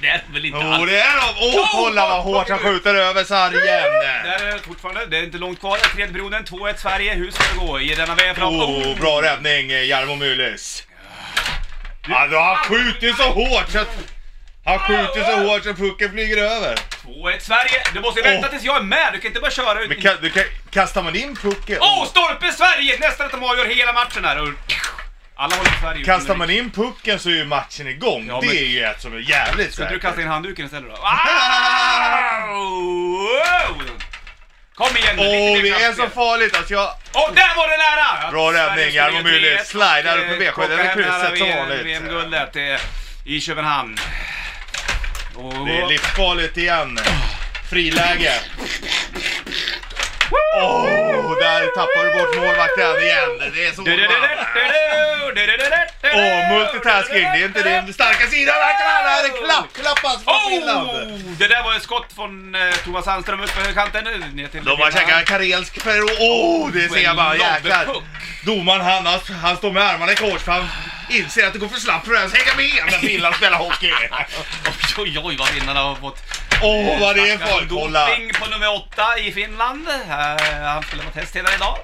Speaker 1: Det är väl inte
Speaker 2: Oh,
Speaker 1: alls.
Speaker 2: det är de! Oh, kolla vad hårt han skjuter över sargen!
Speaker 1: Där är det fortfarande, det är inte långt kvar. Tredje perioden, 2-1 Sverige. Hur ska det gå? I denna vägen fram.
Speaker 2: Oh, bra räddning eh, Jarmo Myllys. Alltså, han skjuter så hårt så att... Han skjuter så hårt så pucken flyger över.
Speaker 1: 2-1 Sverige. Du måste vänta tills jag är med. Du kan inte bara köra ut.
Speaker 2: Men kan, du kan, kastar man in pucken...
Speaker 1: Åh, oh, stolpe Sverige! Nästan att de avgör hela matchen här. Och- Alla håller på Sverige.
Speaker 2: Kastar man in pucken så är ju matchen igång.
Speaker 1: Ja, men-
Speaker 2: Det är ju ett som är jävligt
Speaker 1: Ska inte du
Speaker 2: säkert.
Speaker 1: kasta in handduken istället då? Ah! Wow! Kom igen nu,
Speaker 2: Åh,
Speaker 1: lite mer
Speaker 2: det är
Speaker 1: kraft
Speaker 2: så
Speaker 1: igen.
Speaker 2: farligt alltså. Jag...
Speaker 1: Åh, där var det nära!
Speaker 2: Bra
Speaker 1: Sverige
Speaker 2: räddning,
Speaker 1: skulle
Speaker 2: Jarmo
Speaker 1: ge
Speaker 2: Myhre.
Speaker 1: 3-1
Speaker 2: Slidar
Speaker 1: och,
Speaker 2: upp i
Speaker 1: eh,
Speaker 2: bensskyddet,
Speaker 1: plocka
Speaker 2: eller
Speaker 1: hem det här
Speaker 2: krysset som vanligt.
Speaker 1: VM-guldet eh, i Köpenhamn. Och,
Speaker 2: Det är livsfarligt igen. Friläge. Åh, där tappar du bort målvakten igen. Det är så man. Åh, multitasking. Det är inte din starka sida. verkligen. Det här är klapp, klappas från Finland.
Speaker 1: Oh! Det där var ett skott från eh, Thomas Sandström ut på högerkanten. nu, ner till
Speaker 2: De har
Speaker 1: Finland.
Speaker 2: käkat karelsk Åh, oh, det ser
Speaker 1: En
Speaker 2: jag bara. Jäklar.
Speaker 1: lobbepuck.
Speaker 2: Domaren han, han- han står med armarna i kors för han inser att det går för snabbt för att ens hänga med när Finland spelar hockey.
Speaker 1: Oj, oj, oj vad finnarna har fått.
Speaker 2: Åh, vad det är
Speaker 1: Snacka om
Speaker 2: folk. Kolla.
Speaker 1: Doping på nummer åtta i Finland. Eh, han spelar på test hela idag.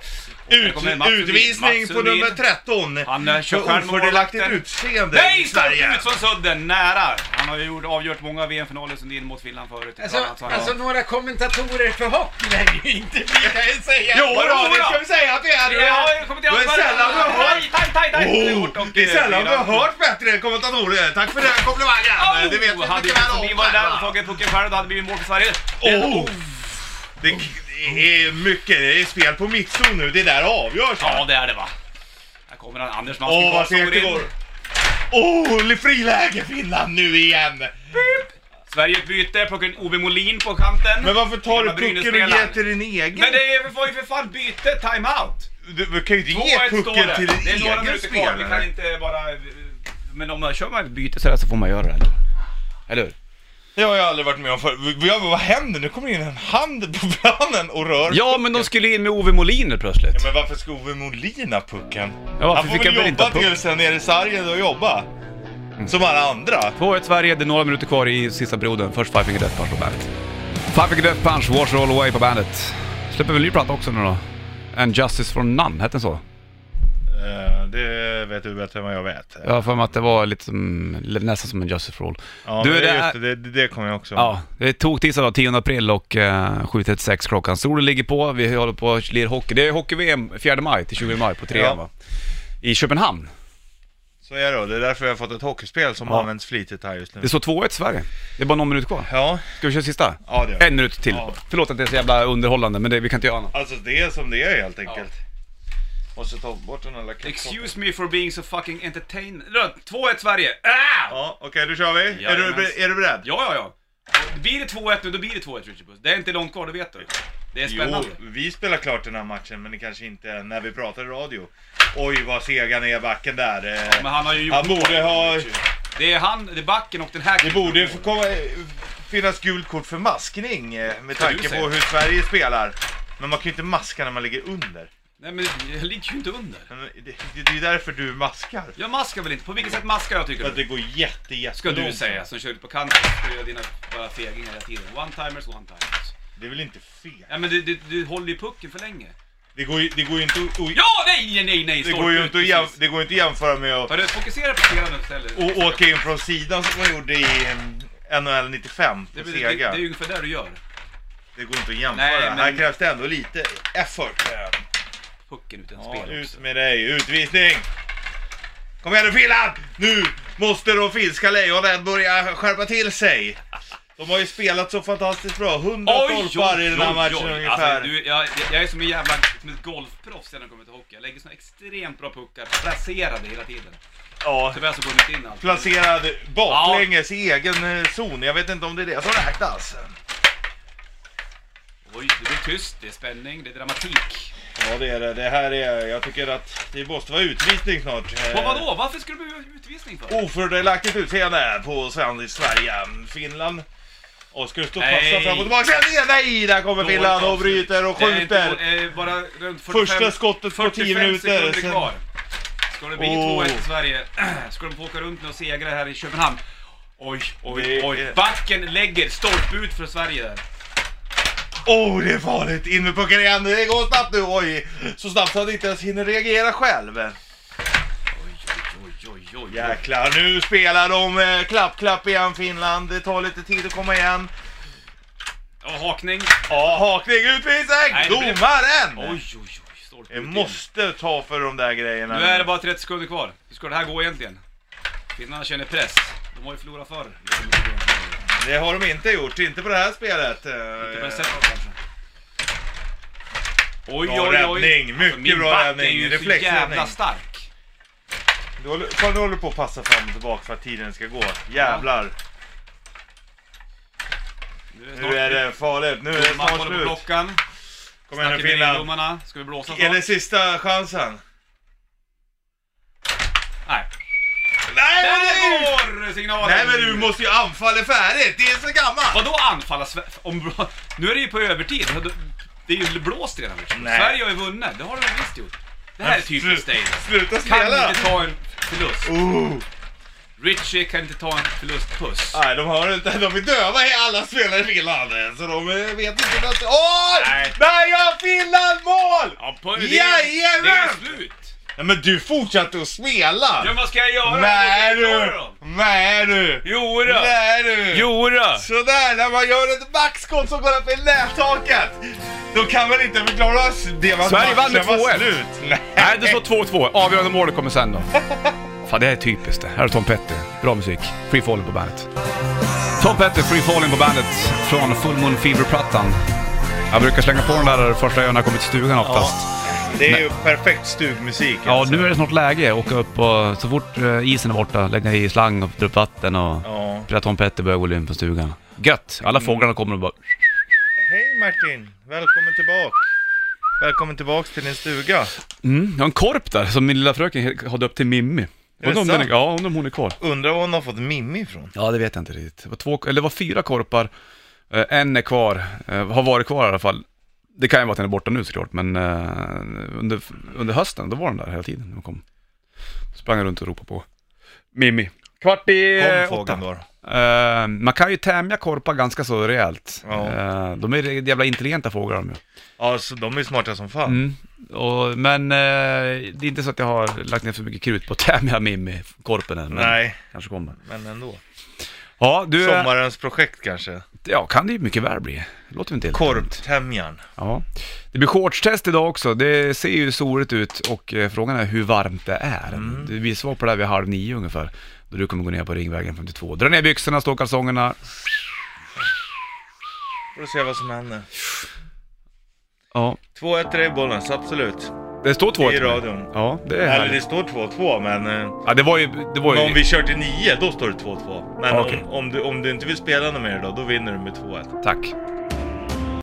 Speaker 1: Och här
Speaker 2: Ut,
Speaker 1: kommer Mats Sundin.
Speaker 2: utvisning
Speaker 1: Mats
Speaker 2: på
Speaker 1: Sundin.
Speaker 2: nummer 13.
Speaker 1: Han, eh, kör
Speaker 2: För
Speaker 1: själv med
Speaker 2: ofördelaktigt
Speaker 1: målvakten.
Speaker 2: utseende
Speaker 1: Nej,
Speaker 2: i
Speaker 1: stort
Speaker 2: Sverige.
Speaker 1: ut från sudden! Nära! Han har ju gjort, avgjort många VM-finaler som din mot Finland förut.
Speaker 4: Alltså,
Speaker 1: Så han-
Speaker 4: alltså några kommentatorer för hockey lär det ju inte bli kan jag ju säga.
Speaker 2: Jo
Speaker 1: Vadå,
Speaker 2: då, det ska
Speaker 1: vadå?
Speaker 2: vi säga att det är.
Speaker 1: Ja, jag har kommit
Speaker 2: det är sällan vi har hört...
Speaker 1: Taj, taj, taj, taj. Det är gjort
Speaker 2: Oh,
Speaker 1: och,
Speaker 2: det är
Speaker 1: eh,
Speaker 2: sällan vi har
Speaker 1: fyra.
Speaker 2: hört bättre kommentatorer. Tack för den komplimangen.
Speaker 1: Oh,
Speaker 2: det vet vi
Speaker 1: hade
Speaker 2: mycket
Speaker 1: Ni
Speaker 2: väl om.
Speaker 1: var där
Speaker 2: va?
Speaker 1: och tagit pucken själv, då hade det blivit mål för Sverige. Den-
Speaker 2: Oh. Det det är mycket. Det är spel på mittzon nu. Det är där det avgörs. va?
Speaker 1: Ja, det är det va. Här kommer han, Anders Masken
Speaker 2: Åh, vad segt det går. Åh, friläge Finland nu igen.
Speaker 1: Sverige byter, plockar in Ove Molin på kanten.
Speaker 2: Men varför tar du
Speaker 1: Gamla
Speaker 2: pucken och
Speaker 1: Brynäs-spelaren.
Speaker 2: ger till din egen?
Speaker 1: Men det är- var ju för fan byte, timeout!
Speaker 2: Du, du kan ju inte ge
Speaker 1: 2-1 står
Speaker 2: pucken
Speaker 1: det.
Speaker 2: till
Speaker 1: Det
Speaker 2: din
Speaker 1: är några
Speaker 2: egen
Speaker 1: minuter kvar, vi kan
Speaker 2: spelare.
Speaker 1: inte bara... Men om man kör man ett byte sådär så får man göra det, eller? Eller hur?
Speaker 2: Det har jag aldrig varit med om förr. Jag bara, Vad händer? Nu kommer in en hand på planen och rör
Speaker 1: Ja, men de skulle in med Ove Molin helt plötsligt.
Speaker 2: Ja, Men varför ska Ove Molin ha pucken?
Speaker 1: Ja, varför
Speaker 2: han får
Speaker 1: fick
Speaker 2: väl
Speaker 1: han väl inte
Speaker 2: jobba
Speaker 1: ha puck? Mm.
Speaker 2: tills han är i sargen och jobba. Som alla andra.
Speaker 1: 2-1 Sverige, det är några minuter kvar i sista perioden. Först Five Finger Death Punch på bandet. Five Finger Death Punch, Watch All Away på bandet. Släpper väl ny platta också nu då? And Justice for None, hette den så?
Speaker 2: Eh, det vet du bättre än vad jag vet.
Speaker 1: Jag har för mig att det var lite som, nästan som en Justice for All.
Speaker 2: Ja,
Speaker 1: Du,
Speaker 2: men
Speaker 1: det
Speaker 2: det,
Speaker 1: är-
Speaker 2: just, det, det, det kommer jag också
Speaker 1: Ja, det är toktisdag då, 10 april och eh, 7.36 klockan. Solen ligger på, vi håller på och lirar hockey. Det är hockey-VM 4 maj till 20 maj på 3
Speaker 2: Ja.
Speaker 1: va? I Köpenhamn.
Speaker 2: Så är det då. Det är därför jag har fått ett hockeyspel som
Speaker 1: Ja.
Speaker 2: används flitigt här just nu.
Speaker 1: Det står 2-1 Sverige. Det är bara någon minut kvar.
Speaker 2: Ja,
Speaker 1: Ska vi köra sista?
Speaker 2: Ja, det gör vi.
Speaker 1: En minut till.
Speaker 2: Ja.
Speaker 1: Förlåt att det är så jävla underhållande, men det, vi kan inte göra annat.
Speaker 2: alltså det är som det är helt enkelt. Måste ta bort den här lilla kapslotten.
Speaker 1: Excuse me for being so fucking entertain... Lön, 2-1 Sverige. Ah! Ja,
Speaker 2: Ja, okej då kör vi. Är du,
Speaker 1: Jajamens.
Speaker 2: är du beredd?
Speaker 1: ja, ja. Blir det 2-1 nu, då blir det 2-1 Richard Puss. Det är inte långt kvar, det vet du. Det är
Speaker 2: Jo,
Speaker 1: spännande.
Speaker 2: vi spelar klart den här matchen men det kanske inte är när vi pratar i radio. Oj vad segan är backen där. Eh,
Speaker 1: Men han har ju gjort
Speaker 2: Han borde ha...
Speaker 1: Det är han, det är backen och den här
Speaker 2: Det borde ju få komma, eh, finnas gult kort för maskning eh, med
Speaker 1: Kan du
Speaker 2: tanke
Speaker 1: säga.
Speaker 2: på hur Sverige spelar. Men man kan ju inte maska när man ligger under.
Speaker 1: Nej men jag ligger ju inte under.
Speaker 2: Men eh, Det, det, det är ju därför du maskar.
Speaker 1: Jag maskar väl inte? På vilket sätt maskar jag tycker
Speaker 2: För att det
Speaker 1: du?
Speaker 2: går jätte, jätte
Speaker 1: Ska du säga som kör ut på kanten. Ska du göra dina bara fegingar hela tiden. One-timers, one-timers.
Speaker 2: Det är väl inte fel?
Speaker 1: Ja men du, du, du håller ju pucken för länge.
Speaker 2: Det går ju, det går ju inte att... oj,
Speaker 1: Ja, nej, nej, nej!
Speaker 2: Det
Speaker 1: stolpe
Speaker 2: går ju
Speaker 1: ut,
Speaker 2: inte att
Speaker 1: precis.
Speaker 2: jäm- det går inte att jämföra med att
Speaker 1: Hörru, fokusera på spelaren istället.
Speaker 2: och åka in från sidan som man gjorde i eh, NHL 95
Speaker 1: det,
Speaker 2: på
Speaker 1: det, det, det
Speaker 2: Sega.
Speaker 1: är ju ungefär det du gör.
Speaker 2: Det går inte att jämföra.
Speaker 1: Nej, men-
Speaker 2: Här krävs det ändå lite effort.
Speaker 1: Pucken utan
Speaker 2: Ja,
Speaker 1: spel
Speaker 2: ut
Speaker 1: också.
Speaker 2: med dig, utvisning! Kom igen nu Finland! Nu måste de finska lejonen börja skärpa till sig. De har ju spelat så fantastiskt bra. 100 stolpar i den här matchen ungefär.
Speaker 1: Alltså, du, jag, jag är som en jävla som ett golfproffs när det kommer till hockey. Jag lägger såna extremt bra puckar, placerade hela tiden.
Speaker 2: Ja,
Speaker 1: Tyvärr så går de inte in allt.
Speaker 2: placerad baklänges i egen eh, zon. Jag vet inte om det är det som räknas.
Speaker 1: Oj, det blir tyst, det är spänning, det är dramatik.
Speaker 2: Ja det är det. Det här är... Jag tycker att det måste vara utvisning snart.
Speaker 1: Och vadå? Varför skulle du bli utvisning för?
Speaker 2: ofördelaktigt utseende på Sven- Sverige. Finland. Och ska du stå och
Speaker 1: Nej.
Speaker 2: passa fram och tillbaka? Nej, nej, där kommer
Speaker 1: Dåligt
Speaker 2: Finland och
Speaker 1: avslut.
Speaker 2: bryter och
Speaker 1: Det är inte
Speaker 2: skjuter.
Speaker 1: mål, eh, bara runt 45,
Speaker 2: Första skottet på 10 minuter,
Speaker 1: sekunder
Speaker 2: sen-
Speaker 1: kvar. Ska det bli
Speaker 2: Oh.
Speaker 1: 2-1 till Sverige, ska de få åka runt nu och segra här i Köpenhamn. Oj, oj,
Speaker 2: Det
Speaker 1: oj.
Speaker 2: är-
Speaker 1: Backen lägger stolput för Sverige där.
Speaker 2: Åh, oh, det är farligt! In med pucken igen, det går snabbt nu! Oj! Så snabbt så att han inte ens hinner reagera själv.
Speaker 1: Oj, oj, oj, oj, oj.
Speaker 2: Jäklar, nu spelar de eh, klapp, klapp igen Finland. Det tar lite tid att komma igen.
Speaker 1: Och hakning.
Speaker 2: Ja, hakning, utvisning!
Speaker 1: Nej, det blir-
Speaker 2: Domaren!
Speaker 1: Oj, oj, oj.
Speaker 4: stolpe
Speaker 2: Jag
Speaker 4: ut
Speaker 2: måste ta för de där grejerna.
Speaker 1: Nu är det bara 30 sekunder kvar. Hur ska det här gå egentligen? Finnarna känner press. De har ju förlorat förr.
Speaker 2: Det har de inte gjort, inte på det här spelet.
Speaker 1: Inte på det sättet kanske. Eh. Oj, Alltså,
Speaker 2: Bra räddning, mycket
Speaker 1: min
Speaker 2: bra
Speaker 1: back
Speaker 2: räddning.
Speaker 1: är ju så
Speaker 2: Reflexräddning.
Speaker 1: jävla stark.
Speaker 2: Du håller, fan, du håller på att passa fram och tillbaka för att tiden ska gå. Jävlar. Nu är det farligt. Nu är det
Speaker 1: Man
Speaker 2: snart
Speaker 1: kollar på
Speaker 2: slut.
Speaker 1: klockan.
Speaker 2: Kom
Speaker 1: Snackar
Speaker 2: igen
Speaker 1: med
Speaker 2: nu Finland.
Speaker 1: ungdomarna. Ska vi blåsa
Speaker 2: Är det
Speaker 1: snart?
Speaker 2: sista chansen?
Speaker 1: Nej.
Speaker 2: Nej men,
Speaker 1: Där
Speaker 2: du,
Speaker 1: går signalen!
Speaker 2: nej men du måste ju anfalla färdigt. Det är så gammalt.
Speaker 1: Vadå anfalla Sve- om Nu är det ju på övertid. Det är ju blåst redan. liksom.
Speaker 2: Nej.
Speaker 1: Sverige har ju vunnit. Det har de väl visst gjort. Det här är typiskt Stalen.
Speaker 2: Sluta
Speaker 1: Kan
Speaker 2: spela.
Speaker 1: inte ta en förlust.
Speaker 2: Oh.
Speaker 1: Richie kan inte ta en förlustpuss.
Speaker 2: Nej de hör inte. De är döva i alla spelare i Finland. Så de eh, vet inte vad... Åh!
Speaker 1: Nej.
Speaker 2: Där gör Finland mål!
Speaker 1: Ja, på, det,
Speaker 2: Jajamän!
Speaker 1: det är slut!
Speaker 2: Nej men du fortsatte att spela.
Speaker 1: Ja, vad ska jag göra?
Speaker 2: Nej
Speaker 1: Vad ska jag
Speaker 2: du!
Speaker 1: göra då?
Speaker 2: Nej du!
Speaker 1: Jo då.
Speaker 2: Nej du!
Speaker 1: Jo då.
Speaker 2: Sådär, när man gör ett backskott som går upp i nättaket! Då kan väl inte förklara s- det var
Speaker 1: Sverige vann med
Speaker 2: matchen var
Speaker 1: 2-1.
Speaker 2: slut. Nej.
Speaker 1: Nej, det står 2-2. Avgörande målet kommer sen då. Fan, det här är typiskt det. Här är Tom Petty. Bra musik. Free Falling på bandet. Tom Petty, Free Falling på bandet från Full Moon Fever-plattan. Jag brukar slänga på den där första gången jag kommer till stugan oftast.
Speaker 2: Det är ju perfekt stugmusik. alltså.
Speaker 1: Ja, nu är det snart läge att åka upp och så fort eh, isen är borta lägga i slang och dra upp vatten och
Speaker 2: Ja.
Speaker 1: spela Tom Petty börjar gå in på stugan. Gött! Alla fåglarna kommer och bara...
Speaker 2: Hej Martin! Välkommen tillbaka. Välkommen tillbaks till din stuga.
Speaker 1: Mm, jag har en korp där som min lilla fröken har döpt till Mimmi.
Speaker 2: det
Speaker 1: Undrar om, den är,
Speaker 2: sant?
Speaker 1: ja, undrar om hon är kvar.
Speaker 2: Undrar var hon har fått Mimmi ifrån?
Speaker 1: Ja, det vet jag inte riktigt. Det var, två, eller det var fyra korpar. Eh, En är kvar, eh, har varit kvar i alla fall. Det kan ju vara att den är borta nu såklart, men eh, under, under hösten, då var den där hela tiden när hon kom. Sprang runt och ropade på Mimmi. Kvart i eh,
Speaker 2: Kom
Speaker 1: åtta.
Speaker 2: fågeln då.
Speaker 1: Eh, man kan ju tämja korpar ganska så rejält.
Speaker 2: Ja.
Speaker 1: Eh, de är jävla intelligenta fåglar de ju.
Speaker 2: Ja, så de är smarta som fan.
Speaker 1: Mm. Och, men eh, det är inte så att jag har lagt ner för mycket krut på att tämja Mimmi, korpen än. Men
Speaker 2: Nej,
Speaker 1: Kanske kommer.
Speaker 2: men ändå.
Speaker 1: Ja, du... eh,
Speaker 2: Sommarens projekt kanske.
Speaker 1: Ja, kan det ju mycket väl bli. Låter inte helt
Speaker 2: Korptämjan.
Speaker 1: Ja. Det blir shortstest idag också. Det ser ju soligt ut och eh, frågan är hur varmt det är. Det- Vi svar på det här vid halv nio ungefär. Då du kommer gå ner på Ringvägen 52. Dra ner byxorna, stå kalsongerna.
Speaker 2: Får se vad som händer.
Speaker 1: Ja,
Speaker 2: 2-1 i Bollnäs, absolut.
Speaker 1: det står två
Speaker 2: I radion.
Speaker 1: Ja, det är
Speaker 2: Eller
Speaker 1: härligt.
Speaker 2: det står 2-2, men... eh,
Speaker 1: Ja, det var ju... Det var ju...
Speaker 2: Men om vi kör till 9, då står det 2-2. Men
Speaker 1: Okej.
Speaker 2: om, om, du, om du inte vill spela något mer då, då vinner du med 2-1.
Speaker 1: Tack.